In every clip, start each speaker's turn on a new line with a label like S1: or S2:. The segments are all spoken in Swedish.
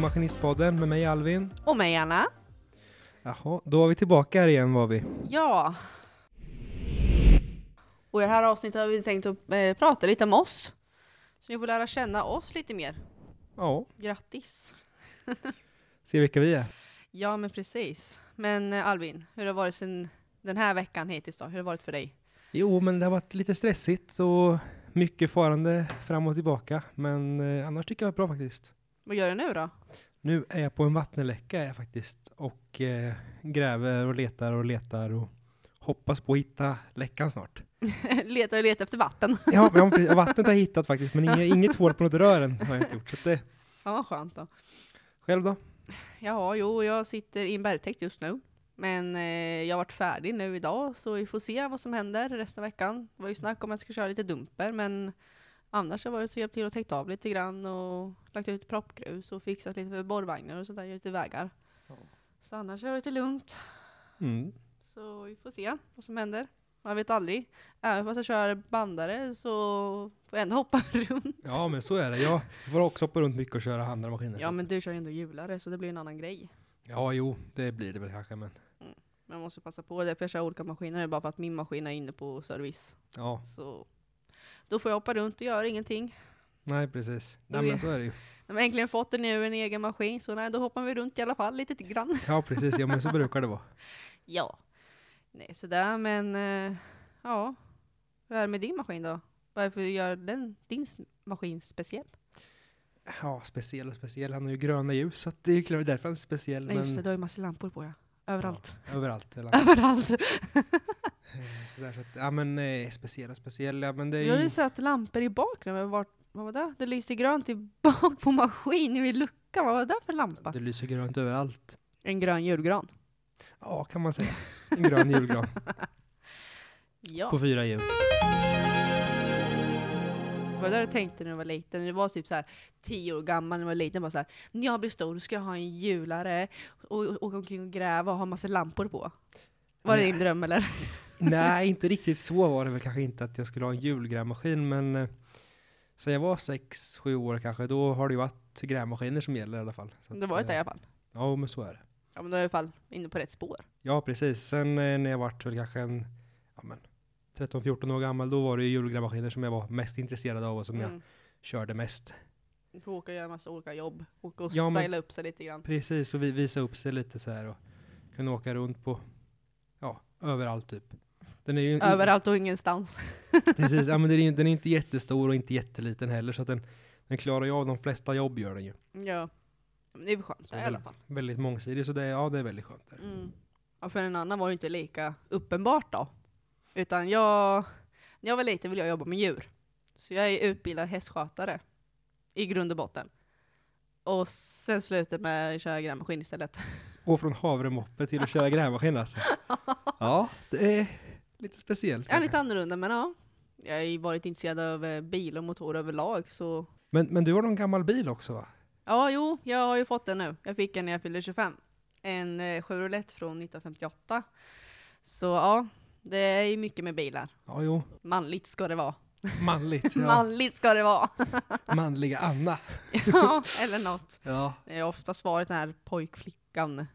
S1: Maskinistpodden med mig Alvin.
S2: Och mig Anna.
S1: Jaha, då var vi tillbaka här igen var vi.
S2: Ja. Och i det här avsnittet har vi tänkt att eh, prata lite om oss. Så ni får lära känna oss lite mer.
S1: Ja,
S2: Grattis!
S1: se vilka vi är.
S2: Ja men precis. Men eh, Alvin, hur har det varit sen den här veckan hittills då? Hur har det varit för dig?
S1: Jo, men det har varit lite stressigt och mycket farande fram och tillbaka. Men eh, annars tycker jag det är bra faktiskt.
S2: Vad gör du nu då?
S1: Nu är jag på en vattenläcka är jag faktiskt och eh, gräver och letar och letar och hoppas på att hitta läckan snart.
S2: letar och letar efter vatten.
S1: Ja, men, ja, precis. vattnet har jag hittat faktiskt, men inget, inget hål på något rör än har jag inte gjort. Så att det,
S2: Fan vad skönt då.
S1: själv då?
S2: Ja, jo, jag sitter i en bergtäkt just nu. Men eh, jag har varit färdig nu idag, så vi får se vad som händer resten av veckan. Det var ju snack om att jag ska köra lite dumper, men annars har jag varit och hjälpt till och täckt av lite grann och lagt ut proppgrus och fixat lite för borrvagnar och sådär, gjort lite vägar.
S1: Ja.
S2: Så annars är det lite lugnt.
S1: Mm.
S2: Så vi får se vad som händer. Man vet aldrig. Även fast jag kör bandare så får jag ändå hoppa runt.
S1: Ja, men så är det. Jag får också hoppa runt mycket och köra andra maskiner.
S2: Ja, men du kör ju ändå hjulare, så det blir en annan grej.
S1: Ja, jo, det blir det väl kanske, men
S2: Man måste passa på det, för jag kör olika maskiner nu bara för att min maskin är inne på service.
S1: ja,
S2: Så då får jag hoppa runt och göra ingenting.
S1: nej precis.
S2: Då
S1: Nej, men
S2: är-
S1: så är det ju.
S2: När man äntligen fått det nu, en egen maskin, så nej, då hoppar vi runt i alla fall lite till grann.
S1: Ja, precis. Ja, men så brukar det vara.
S2: Ja. Nej, sådär, men eh, ja. Hur är det med din maskin då? Varför gör den, din s- maskin speciell?
S1: Ja, speciell och speciell. Han har ju gröna ljus, så att det är ju klart därför han är speciell.
S2: Nej,
S1: men
S2: just det, du har ju massor lampor på ja. Överallt.
S1: överallt. Eller,
S2: Överallt.
S1: eh, sådär, så att, ja, men eh, speciell och speciell. Ja, men det
S2: Jag har
S1: är ju,
S2: ju sett lampor i bakgrunden, men vart, vad var det? Det lyste grönt i bak på maskinen vid luckan, vad var det för lampa?
S1: det lyser grönt överallt.
S2: En grön julgran.
S1: Ja, kan man säga. En grön julgran
S2: Ja.
S1: på fyra hjul.
S2: Det var det jag tänkte när jag var liten. Det var typ så här tio år gammal när jag var liten. Bara så här, när jag blir stor ska jag ha en hjulare och och åka omkring och gräva och ha massa lampor på. Var det din dröm eller?
S1: Nej, inte riktigt så var det väl kanske inte att jag skulle ha en julgrävmaskin, men eh, så jag var sex, sju år kanske, då har det ju varit grävmaskiner som gäller i alla fall. Så att,
S2: Det var
S1: eh,
S2: det i alla fall.
S1: Ja, men så är det.
S2: Ja men då är jag i alla fall inne på rätt spår.
S1: Ja, precis. Sen eh, när jag vart väl kanske en, ja men, 13-14 år gammal, då var det ju julgrävmaskiner som jag var mest intresserad av och som jag
S2: Mm.
S1: körde mest.
S2: Du får åka och göra massa olika jobb. Åka och
S1: Ja, men-
S2: styla upp sig lite grann.
S1: Precis, och vi visa upp sig lite så här och kunna åka runt på, ja, överallt typ. Den är ju
S2: Överallt och ingenstans.
S1: Precis, ja men den är ju den är inte jättestor och inte jätteliten heller, så att den, den klarar ju av de flesta jobb gör den ju.
S2: Ja. Men det är väl skönt
S1: Så
S2: där, i
S1: väl-
S2: alla fall.
S1: Väldigt mångsidig, så det, är- ja det är väldigt skönt. Där.
S2: Mm. Ja, för en annan var det inte lika uppenbart då. Utan jag, när jag var liten ville jag jobba med djur. Så jag är utbildad hästskötare i grund och botten. Och sen slutade med att köra grävmaskin istället.
S1: Och från havremoppe till att köra grävmaskin alltså. Ja, det är lite speciellt.
S2: Ja,
S1: kanske.
S2: lite annorlunda, men ja. Jag har ju varit intresserad av eh, bil och motor överlag, så
S1: Men, men du har någon gammal bil också va?
S2: ja, jo, jag har ju fått den nu. Jag fick den när jag fyllde 25. En eh, Chevrolet från 1958. Så ja, det är ju mycket med bilar.
S1: Ja, jo.
S2: Manligt ska det vara.
S1: Manligt. Ja.
S2: Manligt ska det vara.
S1: Manliga Anna.
S2: Ja, eller något.
S1: Ja.
S2: Jag har oftast varit den här pojkflickan.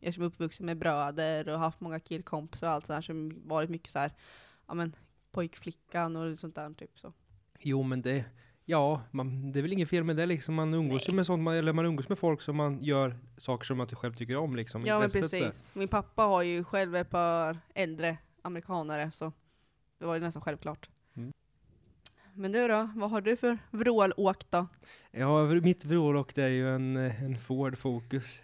S2: Jag som är uppvuxen med bröder och haft många killkompisar och allt sånt där som varit mycket så här, ja men pojkflickan och sånt där typ så.
S1: Jo, men det, ja, man, det är väl inget fel med det liksom. Man umgås ju
S2: Nej.
S1: med sånt, man, eller man umgås med folk som man gör saker som man ty- själv tycker om liksom.
S2: Ja men
S1: Intresset, så här.
S2: precis. Min pappa har ju själv ett par äldre amerikanare så det var ju nästan självklart.
S1: Mm.
S2: Men du då, vad har du för vrålåk då?
S1: Ja, vr- mitt vrålock det är ju en, eh, en Ford Focus.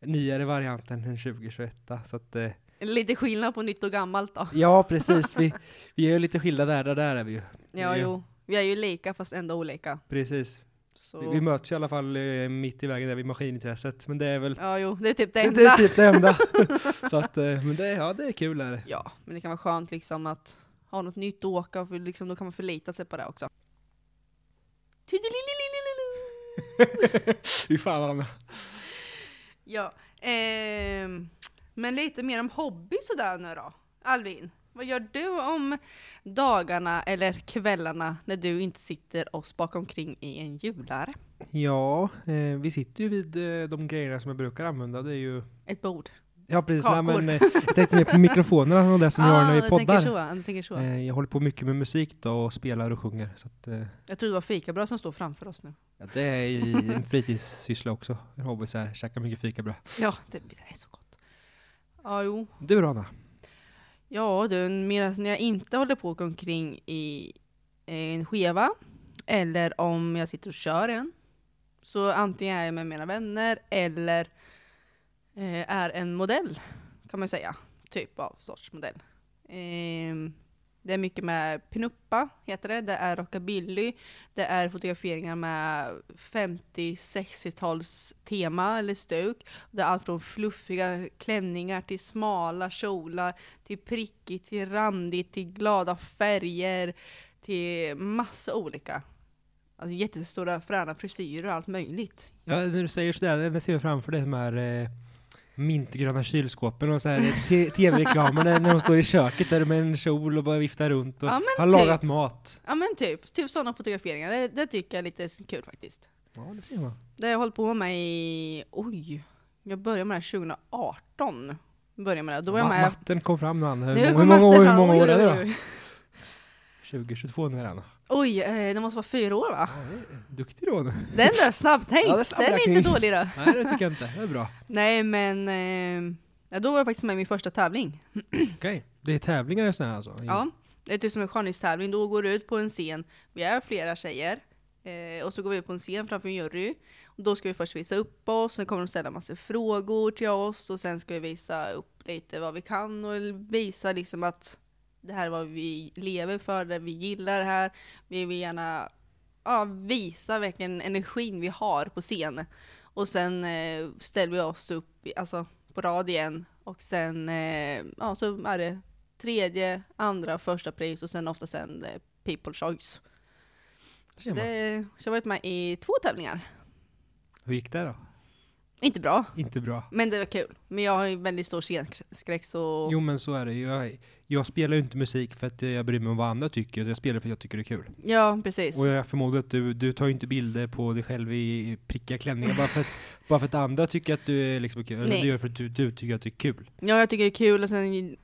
S1: Nyare varianten än 2021. Så att, eh,
S2: Lite skillnad på nytt och gammalt då.
S1: ja, precis. Vi, vi är ju lite skilda världar där är vi ju.
S2: Ja
S1: Ja.
S2: jo, vi är ju lika fast ändå olika.
S1: Precis.
S2: Så.
S1: Vi, vi möts ju i alla fall eh, mitt i vägen där vid maskinintresset. Men det är väl
S2: Ja jo, det är typ det
S1: det,
S2: enda.
S1: det är typ det enda. så att, eh, men det, ja, det är kul är det.
S2: Ja, men det kan vara skönt liksom att ha något nytt att åka och för liksom, då kan man förlita sig på det också. Tudelilililililu.
S1: Fy fan Anna.
S2: ja, ehm, men lite mer om hobby sådär nu då, Alvin. Vad gör du om dagarna eller kvällarna när du inte sitter oss bakom kring i en julare?
S1: Ja, eh, vi sitter ju vid eh, de grejerna som jag brukar använda. Det är ju...
S2: Ett bord?
S1: Ja, precis. Nej,
S2: Kakor.
S1: men, eh, jag tänkte mer på mikrofonerna och det som vi har när vi
S2: du tänker
S1: poddar.
S2: så. Du tänker så.
S1: Eh, jag håller på mycket med musik då och spelar och sjunger. Så att, eh,
S2: Jag tror det var fikabröd som står framför oss nu.
S1: ja, det är ju en fritidssyssla också. En hobby så här, käka mycket fikabröd.
S2: Ja, det, det är så gott. Ja, jo.
S1: Du då Anna?
S2: Ja du, medan när jag inte håller på att gå omkring i eh, en skeva, eller om jag sitter och kör en, så antingen är jag med mina vänner eller eh, är en modell, kan man säga. Typ av sorts modell. Ehm, det är mycket med pinuppa, heter det. Det är rockabilly. Det är fotograferingar med 50-60-tals tema eller stuk. Det är allt från fluffiga klänningar till smala kjolar, till prickigt, till randigt, till glada färger, till massa olika. Alltså jättestora fräna frisyrer och allt möjligt.
S1: Ja, när du säger sådär, jag ser jag framför dig de här eh, mintgröna kylskåpen och så här eh, te- tv-reklamer när när de står i köket där med en kjol och bara viftar runt och
S2: Ja, men
S1: har
S2: typ.
S1: lagat mat.
S2: Ja men typ, typ sådana fotograferingar. Det, det tycker jag är lite kul faktiskt.
S1: Ja, det ser man.
S2: Det har jag hållit på med i, oj, jag började med det här 2018. Började med det. Då var jag
S1: Ma-
S2: med.
S1: Matten kom fram nu Anna. Hur,
S2: Nu
S1: många-
S2: kom
S1: hur, många, år,
S2: matten
S1: hur
S2: fram.
S1: många
S2: Oj,
S1: år är
S2: oj,
S1: det då?
S2: oj.
S1: 2022 nu är det, Anna.
S2: Oj, eh, det måste vara fyra år va?
S1: Ja, det är Duktig då. Nej,
S2: Den där snabbtänkt,
S1: Ja, det är snabb
S2: den är
S1: räkning.
S2: inte dålig då.
S1: det tycker jag inte. Det är bra.
S2: Nej men, eh, ja, då var jag faktiskt med i min första tävling.
S1: Okej. Det är tävlingar och sådär alltså?
S2: Ja, det är typ som en skönhetstävling. Då går du ut på en scen, vi är flera tjejer, eh, och så går vi ut på en scen framför en jury. Och då ska vi först visa upp oss, sen kommer de ställa massa frågor till oss, och sen ska vi visa upp lite vad vi kan och visa liksom att det här är vad vi lever för, det vi gillar det här. Vi vill gärna ja, visa vilken energin vi har på scen. Och sen eh, ställer vi oss upp i- alltså, på rad igen, och sen eh, ja, så är det tredje, andra, första pris och sen ofta sen eh, people choice.
S1: Ser man.
S2: Det, så jag har varit med i två tävlingar.
S1: Hur gick det då?
S2: Inte bra,
S1: Inte bra.
S2: men det var kul. Men jag har ju väldigt stor scenskräck så...
S1: Jo men så är det ju. Jag, jag spelar ju inte musik för att jag bryr mig om vad andra tycker. Jag spelar för att jag tycker det är kul.
S2: Ja, precis.
S1: Och jag förmodar att du, du tar ju inte bilder på dig själv i prickiga klänningar bara för att, bara för att andra tycker att du är liksom kul. Eller
S2: Nej.
S1: du gör för att du, du tycker att det är kul.
S2: Ja, jag tycker det är kul och sen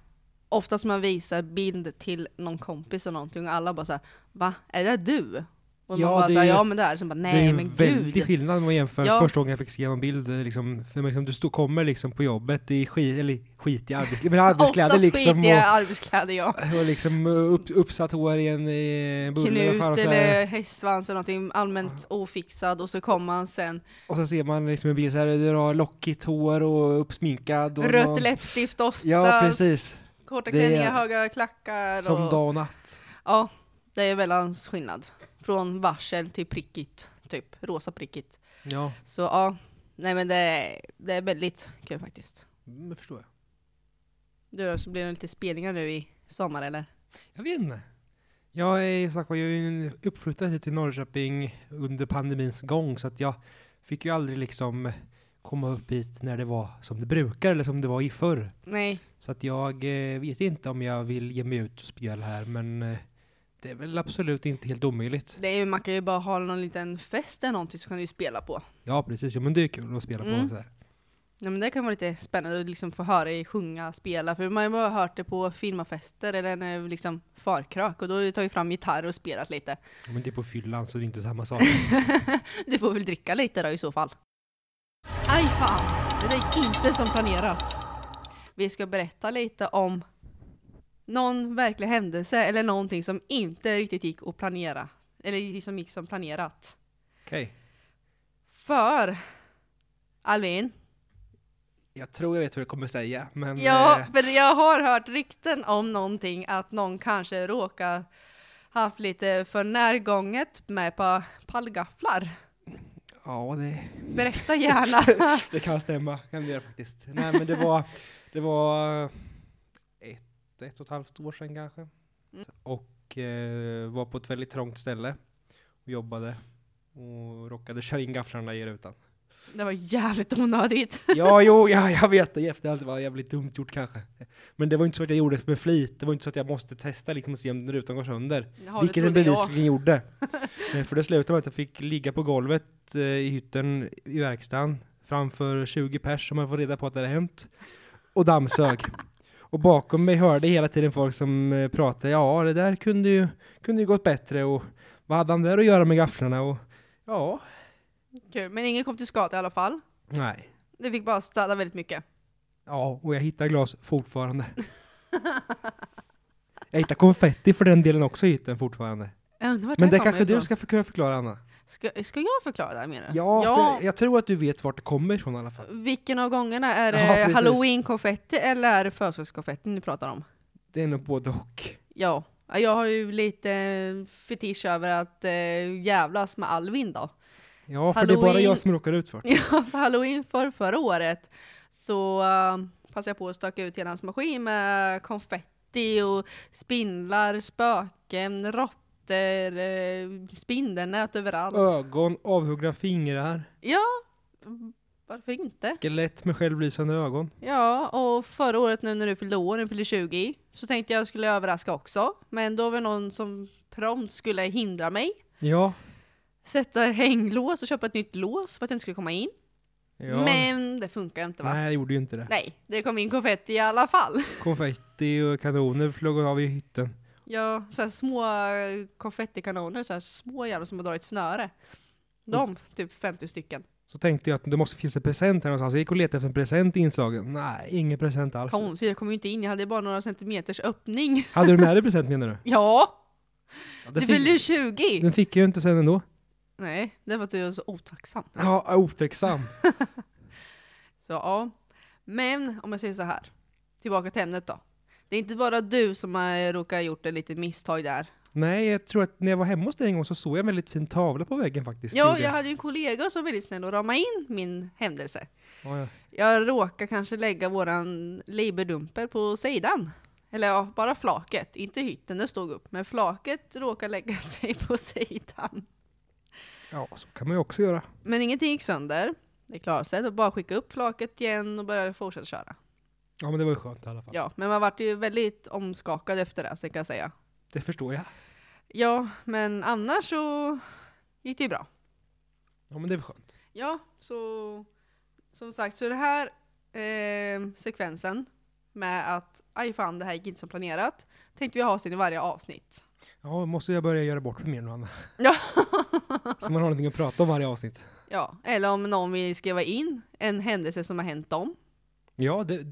S2: oftast man visar bild till någon kompis och någonting och alla bara såhär Va? Är det där du? Och
S1: Ja,
S2: man bara
S1: det
S2: såhär,
S1: är-
S2: ja men det är det." Sen bara
S1: det är
S2: nej
S1: en
S2: men
S1: väldig
S2: gud.
S1: skillnad om man jämför
S2: Ja.
S1: första gången jag fick se någon bild. eh, Liksom, för liksom, du stå, kommer liksom på jobbet i skit, eller skitiga arbets, men arbetskläder
S2: Oftast
S1: liksom.
S2: skitiga arbetskläder ja.
S1: Och, och liksom eh, upp, uppsatt hår i en, i en bulle.
S2: Knut
S1: fan, och, så här,
S2: eller hästsvans eller någonting allmänt ofixad och så kommer han sen
S1: och så ser man liksom en bild så här, du har lockigt hår och uppsminkad. Och
S2: Rött
S1: någon-
S2: läppstift oftast,
S1: Ja precis.
S2: korta
S1: Det är-
S2: klänningar, höga klackar.
S1: Som
S2: och...
S1: dag och natt.
S2: Ja, det är väldans skillnad. Från varsel till prickigt, typ rosa prickigt.
S1: Ja,
S2: Så ja, nej men det är, det är väldigt kul faktiskt.
S1: mm, det förstår jag.
S2: Du då, så blir det lite spelningar nu i sommar eller?
S1: Jag vet inte. Jag är, som sagt, var, jag är ju uppflyttad hit till Norrköping under pandemins gång så att jag fick ju aldrig liksom komma upp hit när det var som det brukar eller som det var i förr.
S2: Nej,
S1: Så att jag eh, vet inte om jag vill ge mig ut och spela här men eh, det är väl absolut inte helt omöjligt.
S2: det är ju, man kan ju bara ha någon liten fest eller någonting så kan du ju spela på.
S1: Ja precis, ja, men det är kul att spela på.
S2: Mm.
S1: Så här.
S2: Ja, men det kan vara lite spännande att liksom få höra dig sjunga, spela, för man har ju bara hört det på filmafester eller när det liksom farkrök och då har du tagit fram gitarr och spelat lite.
S1: Ja, Men det är på fyllan så det är inte samma sak.
S2: Du får väl dricka lite då i så fall. Aj fan, det gick inte som planerat. Vi ska berätta lite om någon verklig händelse eller någonting som inte riktigt gick att planera. Eller som gick som planerat.
S1: Okej,
S2: För Alvin,
S1: jag tror jag vet vad du kommer säga men
S2: Ja,
S1: eh,
S2: för jag har hört rykten om någonting att någon kanske råkar haft lite för närgånget med på pallgafflar.
S1: ja det
S2: Berätta gärna.
S1: det kan stämma, kan det göra faktiskt. Nej men det var, det var ett, ett och ett halvt år sedan kanske.
S2: Mm.
S1: Och eh, var på ett väldigt trångt ställe och jobbade och råkade köra in gafflarna i rutan.
S2: Det var jävligt onödigt.
S1: Ja, jo, ja, jag vet det i efterhand. Det var jävligt dumt gjort kanske. Men det var inte så att jag gjorde det med flit. Det var inte så att jag måste testa liksom och se om rutan går sönder.
S2: Ja, det
S1: vilket den
S2: trodde jag.
S1: bevisligen gjorde. Men för det slutade med att jag fick ligga på golvet eh, i hytten i verkstaden framför 20 pers som jag fått reda på att det hade hänt. Och dammsög. och bakom mig hörde hela tiden folk som eh, pratade. Ja, det där kunde ju, kunde ju gått bättre och vad hade han där att göra med gafflarna? Och ja,
S2: Kul. Men ingen kom till skada i alla fall.
S1: nej.
S2: Du fick bara städa väldigt mycket.
S1: Ja, och jag hittar glas fortfarande. Jag hittar konfetti för den delen också i hytten fortfarande.
S2: Jag undrar vart
S1: Men
S2: det
S1: det
S2: kommer
S1: kanske du
S2: ifrån.
S1: ska få kunna förklara Anna?
S2: Ska, ska jag förklara det här menar du?
S1: Ja, För jag tror att du vet vart det kommer ifrån i alla fall.
S2: Vilken av gångerna? Är
S1: Ja,
S2: det
S1: precis.
S2: halloween-konfetti eller är det födelsedagskonfetti ni pratar om?
S1: Det är nog både och.
S2: Ja, jag har ju lite fetisch över att eh, jävlas med Alvin då.
S1: Ja, för det är bara
S2: Halloween.
S1: jag som råkar ut för det.
S2: Ja, på halloween för förra året så eh, passade jag på att stöka ut hela hans maskin med konfetti och spindlar, spöken, råttor, eh, spindelnät överallt.
S1: Ögon, avhuggna fingrar,
S2: Ja, varför inte?
S1: skelett med självlysande ögon.
S2: Ja, och förra året nu när du fyllde år, när du fyllde 20, så tänkte jag skulle överraska också. Men då var det någon som prompt skulle hindra mig.
S1: Ja.
S2: Sätta hänglås och köpa ett nytt lås för att jag inte skulle komma in.
S1: ja.
S2: Men det funkar inte va?
S1: Nej, jag gjorde ju inte det.
S2: Nej, det kom in konfetti i alla fall.
S1: Konfetti och kanoner flög av i hytten.
S2: Ja, så här små eh, konfettikanoner, så här små jävlar som har dragit snöre. De, typ 50 stycken.
S1: Så tänkte jag att det måste finnas en present här någonstans. Jag gick och letade efter en present i inslagen. Nej, ingen present alls.
S2: Kom, så jag kom ju inte in, jag hade bara några centimeters öppning.
S1: Hade du med dig present menar du?
S2: Ja,
S1: Ja, det
S2: du
S1: fick-
S2: fyllde ju 20!
S1: Den fick jag ju inte sen ändå.
S2: Nej, det var att du är så otacksam.
S1: Ja, otäcksam.
S2: Så ja. Men om jag säger så här. Tillbaka till ämnet då. Det är inte bara du som har råkat ha gjort ett litet misstag där.
S1: Nej, jag tror att när jag var hemma hos dig en gång så såg jag en väldigt fin tavla på väggen faktiskt.
S2: Ja,
S1: Gjorde
S2: jag hade ju en kollega som var väldigt snäll och ramade in min händelse.
S1: Ja, ja.
S2: Jag råkar kanske lägga våran laberdumper på sidan. Eller ja, bara flaket. Inte hytten, den stod upp. Men flaket råkar lägga sig på sidan.
S1: ja, så kan man ju också göra.
S2: Men ingenting gick sönder. Det klarade sig. Det var bara att skicka upp flaket igen och börja fortsätta köra.
S1: Ja, men det var ju skönt i alla fall.
S2: Ja, men man vart ju väldigt omskakad efter det, så det kan jag säga.
S1: Det förstår jag.
S2: Ja, men annars så gick det ju bra.
S1: Ja, men det var skönt.
S2: Ja, så som sagt, så den här eh, sekvensen med att aj fan, det här gick inte som planerat, tänkte vi ha sen i varje avsnitt.
S1: Ja, måste jag börja göra bort mig mer nu, Anna.
S2: Ja.
S1: Så man har någonting att prata om varje avsnitt.
S2: ja, eller om någon vill skriva in en händelse som har hänt dem.
S1: Ja, det,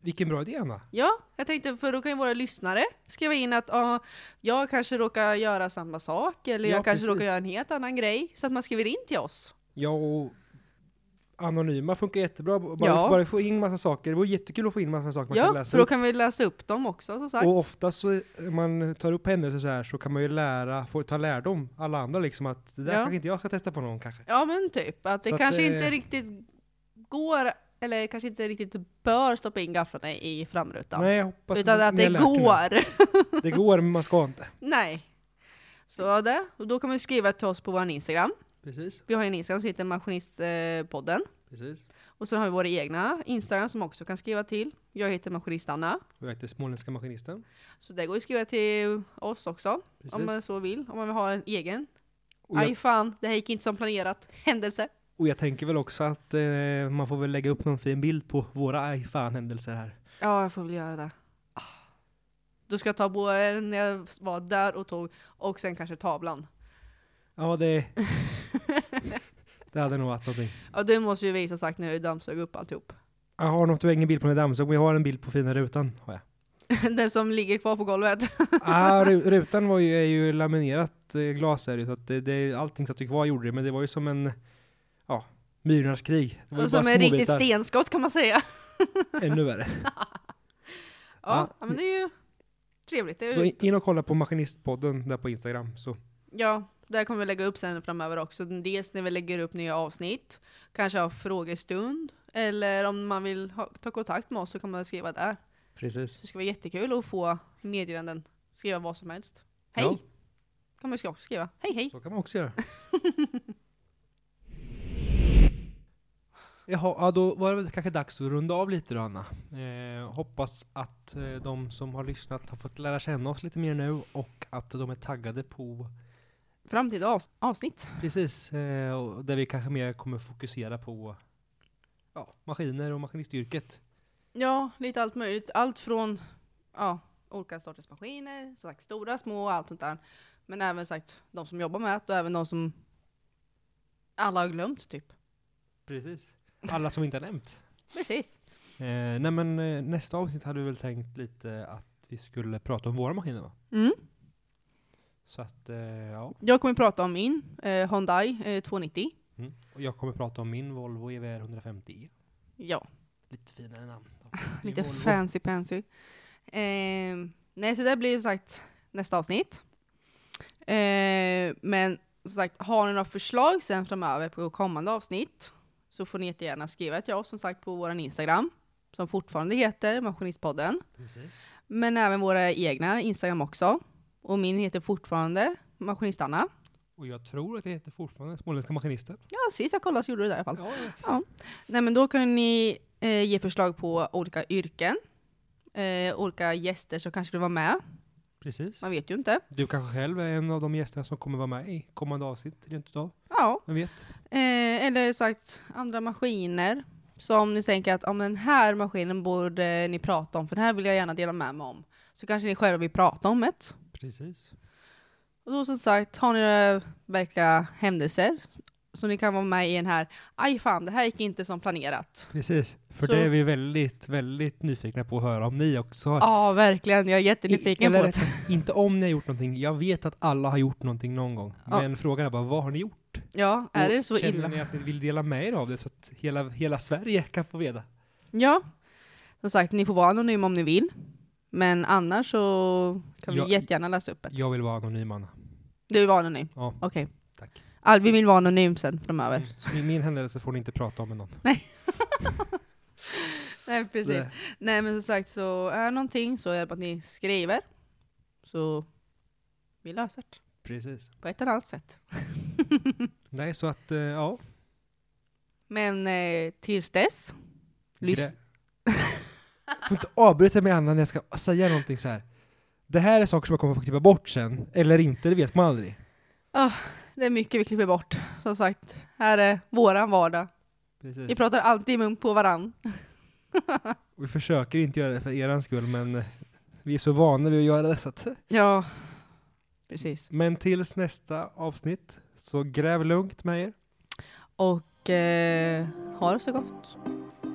S1: vilken bra idé, Anna.
S2: Ja, jag tänkte, för då kan ju våra lyssnare skriva in att ah, jag kanske råkar göra samma sak, eller
S1: Ja,
S2: jag kanske
S1: precis.
S2: råkar göra en helt annan grej, så att man skriver in till oss.
S1: Ja, och anonyma funkar jättebra. Bara,
S2: Ja.
S1: bara få in massa saker. Det vore jättekul att få in massa saker man kan
S2: Ja,
S1: läsa
S2: för då
S1: upp.
S2: kan vi läsa upp dem också, som sagt.
S1: Och oftast så, när man tar upp händelser så här så kan man ju lära, få ta lärdom, alla andra liksom att det där
S2: Ja.
S1: kanske inte jag ska testa på någon kanske.
S2: Ja men typ, att det
S1: Så att
S2: kanske
S1: det-
S2: inte riktigt går, eller kanske inte riktigt bör stoppa in gafflarna i framrutan.
S1: Nej, jag hoppas
S2: utan att
S1: ni
S2: det
S1: har lärt er nu.
S2: går.
S1: Det går, men man ska inte.
S2: Nej. Så det, och då kan man skriva till oss på vår Instagram.
S1: Precis,
S2: Vi har ju en Instagram som heter Maskinistpodden.
S1: precis.
S2: Och sen har vi våra egna Instagram som också kan skriva till. Jag heter Maskinistanna.
S1: Och jag heter Småländska Maskinisten.
S2: Så det går ju att skriva till oss också,
S1: Precis.
S2: om man så vill. Om man vill ha en egen.
S1: och, jag,
S2: Aj fan, det här gick inte som planerat. Händelse.
S1: och jag tänker väl också att eh, man får väl lägga upp någon fin bild på våra aj fan-händelser här.
S2: Ja, jag får väl göra det. Ah. Då ska jag ta både när jag var där och tog, och sen kanske tavlan.
S1: Ja, det... det hade nog varit någonting.
S2: Ja, du måste ju visa sagt när du dammsög upp alltihop.
S1: Jag har nog tyvärr ingen bild på den där dammsugaren, men jag har en bild på fina rutan. Har jag.
S2: Den som ligger kvar på golvet.
S1: Ah, ru- rutan var ju, är ju laminerat eh, glas är det, ju, så att det, det, allting satt ju kvar gjorde det, men det var ju som en, ja, myrornas krig. Det var ju
S2: Och som
S1: bara
S2: en riktigt
S1: småbitar.
S2: stenskott kan man säga.
S1: Ännu värre.
S2: Ja, ja. men det är ju trevligt. Det är
S1: Så
S2: ju,
S1: in- in och kolla på Maskinistpodden där på Instagram. Så.
S2: ja, där kommer vi lägga upp sen framöver också. Dels när vi lägger upp nya avsnitt, kanske ha frågestund, eller om man vill ha, ta kontakt med oss så kan man skriva där.
S1: Precis.
S2: Så det ska vara jättekul att få meddelanden, skriva vad som helst. Hej!
S1: Ja.
S2: kan man ju också skriva. Hej hej!
S1: Så kan man också göra. Jaha, ja, då var det väl kanske dags att runda av lite då Anna. Eh, hoppas att eh, de som har lyssnat har fått lära känna oss lite mer nu och att de är taggade på
S2: Framtida avs- avsnitt.
S1: Precis, eh, och där vi kanske mer kommer fokusera på ja, maskiner och maskinistyrket.
S2: Ja, lite allt möjligt. Allt från ja, olika sorters maskiner, som sagt stora, små och allt sånt där. Men även sagt de som jobbar med det och även de som alla har glömt typ.
S1: Precis. Alla som vi inte har nämnt.
S2: Precis.
S1: Eh, nej men eh, nästa avsnitt hade vi väl tänkt lite att vi skulle prata om våra maskiner va?
S2: Mm.
S1: Så att eh, ja,
S2: Jag kommer prata om min eh, Hyundai eh, 290.
S1: mm. och jag kommer prata om min Volvo E EVR 150E.
S2: Ja,
S1: Lite finare namn. då.
S2: lite
S1: Volvo.
S2: fancy pansy. Ehm, nej, så det blir som sagt nästa avsnitt. Ehm, men som sagt, har ni några förslag sen framöver på kommande avsnitt så får ni jättegärna skriva till oss som sagt på vår Instagram som fortfarande heter Maskinistpodden.
S1: Precis.
S2: Men även våra egna Instagram också. Och min heter fortfarande Maskinistanna.
S1: Och jag tror att det heter fortfarande Småländska Maskinister.
S2: Ja, sist jag kollade så gjorde du det i alla fall.
S1: Ja, jag vet.
S2: Ja. Nej men då kan ni eh, ge förslag på olika yrken, eh, olika gäster som kanske vill vara med.
S1: Precis.
S2: Man vet ju inte.
S1: Du kanske själv är en av de gästerna som kommer vara med i kommande avsnitt rent utav.
S2: Ja.
S1: Vem vet?
S2: Eh, eller sagt andra maskiner som ni tänker att om den här maskinen borde ni prata om, för den här vill jag gärna dela med mig om. Så kanske ni själva vill prata om det.
S1: Precis.
S2: Och då som sagt, har ni några verkliga händelser så ni kan vara med i den här, aj fan, det här gick inte som planerat.
S1: Precis. För
S2: Så-
S1: det är vi väldigt, väldigt nyfikna på att höra om ni också har
S2: Ja, verkligen. Jag är
S1: I-
S2: jättenyfiken
S1: eller
S2: på det.
S1: rätt sagt, Inte om ni har gjort någonting. Jag vet att alla har gjort någonting någon gång.
S2: Ja.
S1: Men frågan är bara, vad har ni gjort?
S2: Ja, är
S1: Och
S2: det så
S1: känner
S2: illa?
S1: ni att ni vill dela med er av det så att hela, hela Sverige kan få veta?
S2: Ja. Som sagt, ni får vara anonyma om ni vill. Men annars så kan vi
S1: Ja,
S2: jättegärna läsa upp det.
S1: Jag vill vara anonym, Anna.
S2: Du vill vara anonym?
S1: Ja.
S2: Okej.
S1: Tack.
S2: All, Ah, vi vill vara anonym sen framöver.
S1: Så i min händelse får ni inte prata om med någon.
S2: Nej, precis.
S1: Det-
S2: Nej, men som sagt så är det någonting så är det bara att ni skriver. Så vi löser det
S1: Precis.
S2: på ett eller annat sätt.
S1: Nej, så att, eh, ja.
S2: Men eh, tills dess, lys-
S1: Grä- får inte avbryta mig, Anna, när jag ska säga någonting så här. Det här är saker som jag kommer få klippa bort sen, eller inte, det vet man aldrig.
S2: det är mycket vi klipper bort. Som sagt, här är våran vardag.
S1: Precis.
S2: Vi pratar alltid i mun på varann.
S1: Och vi försöker inte göra det för er skull, men eh, vi är så vana vid att göra det så att...
S2: Ja, precis.
S1: Men tills nästa avsnitt, så gräv lugnt med er.
S2: Och eh, ha det så gott.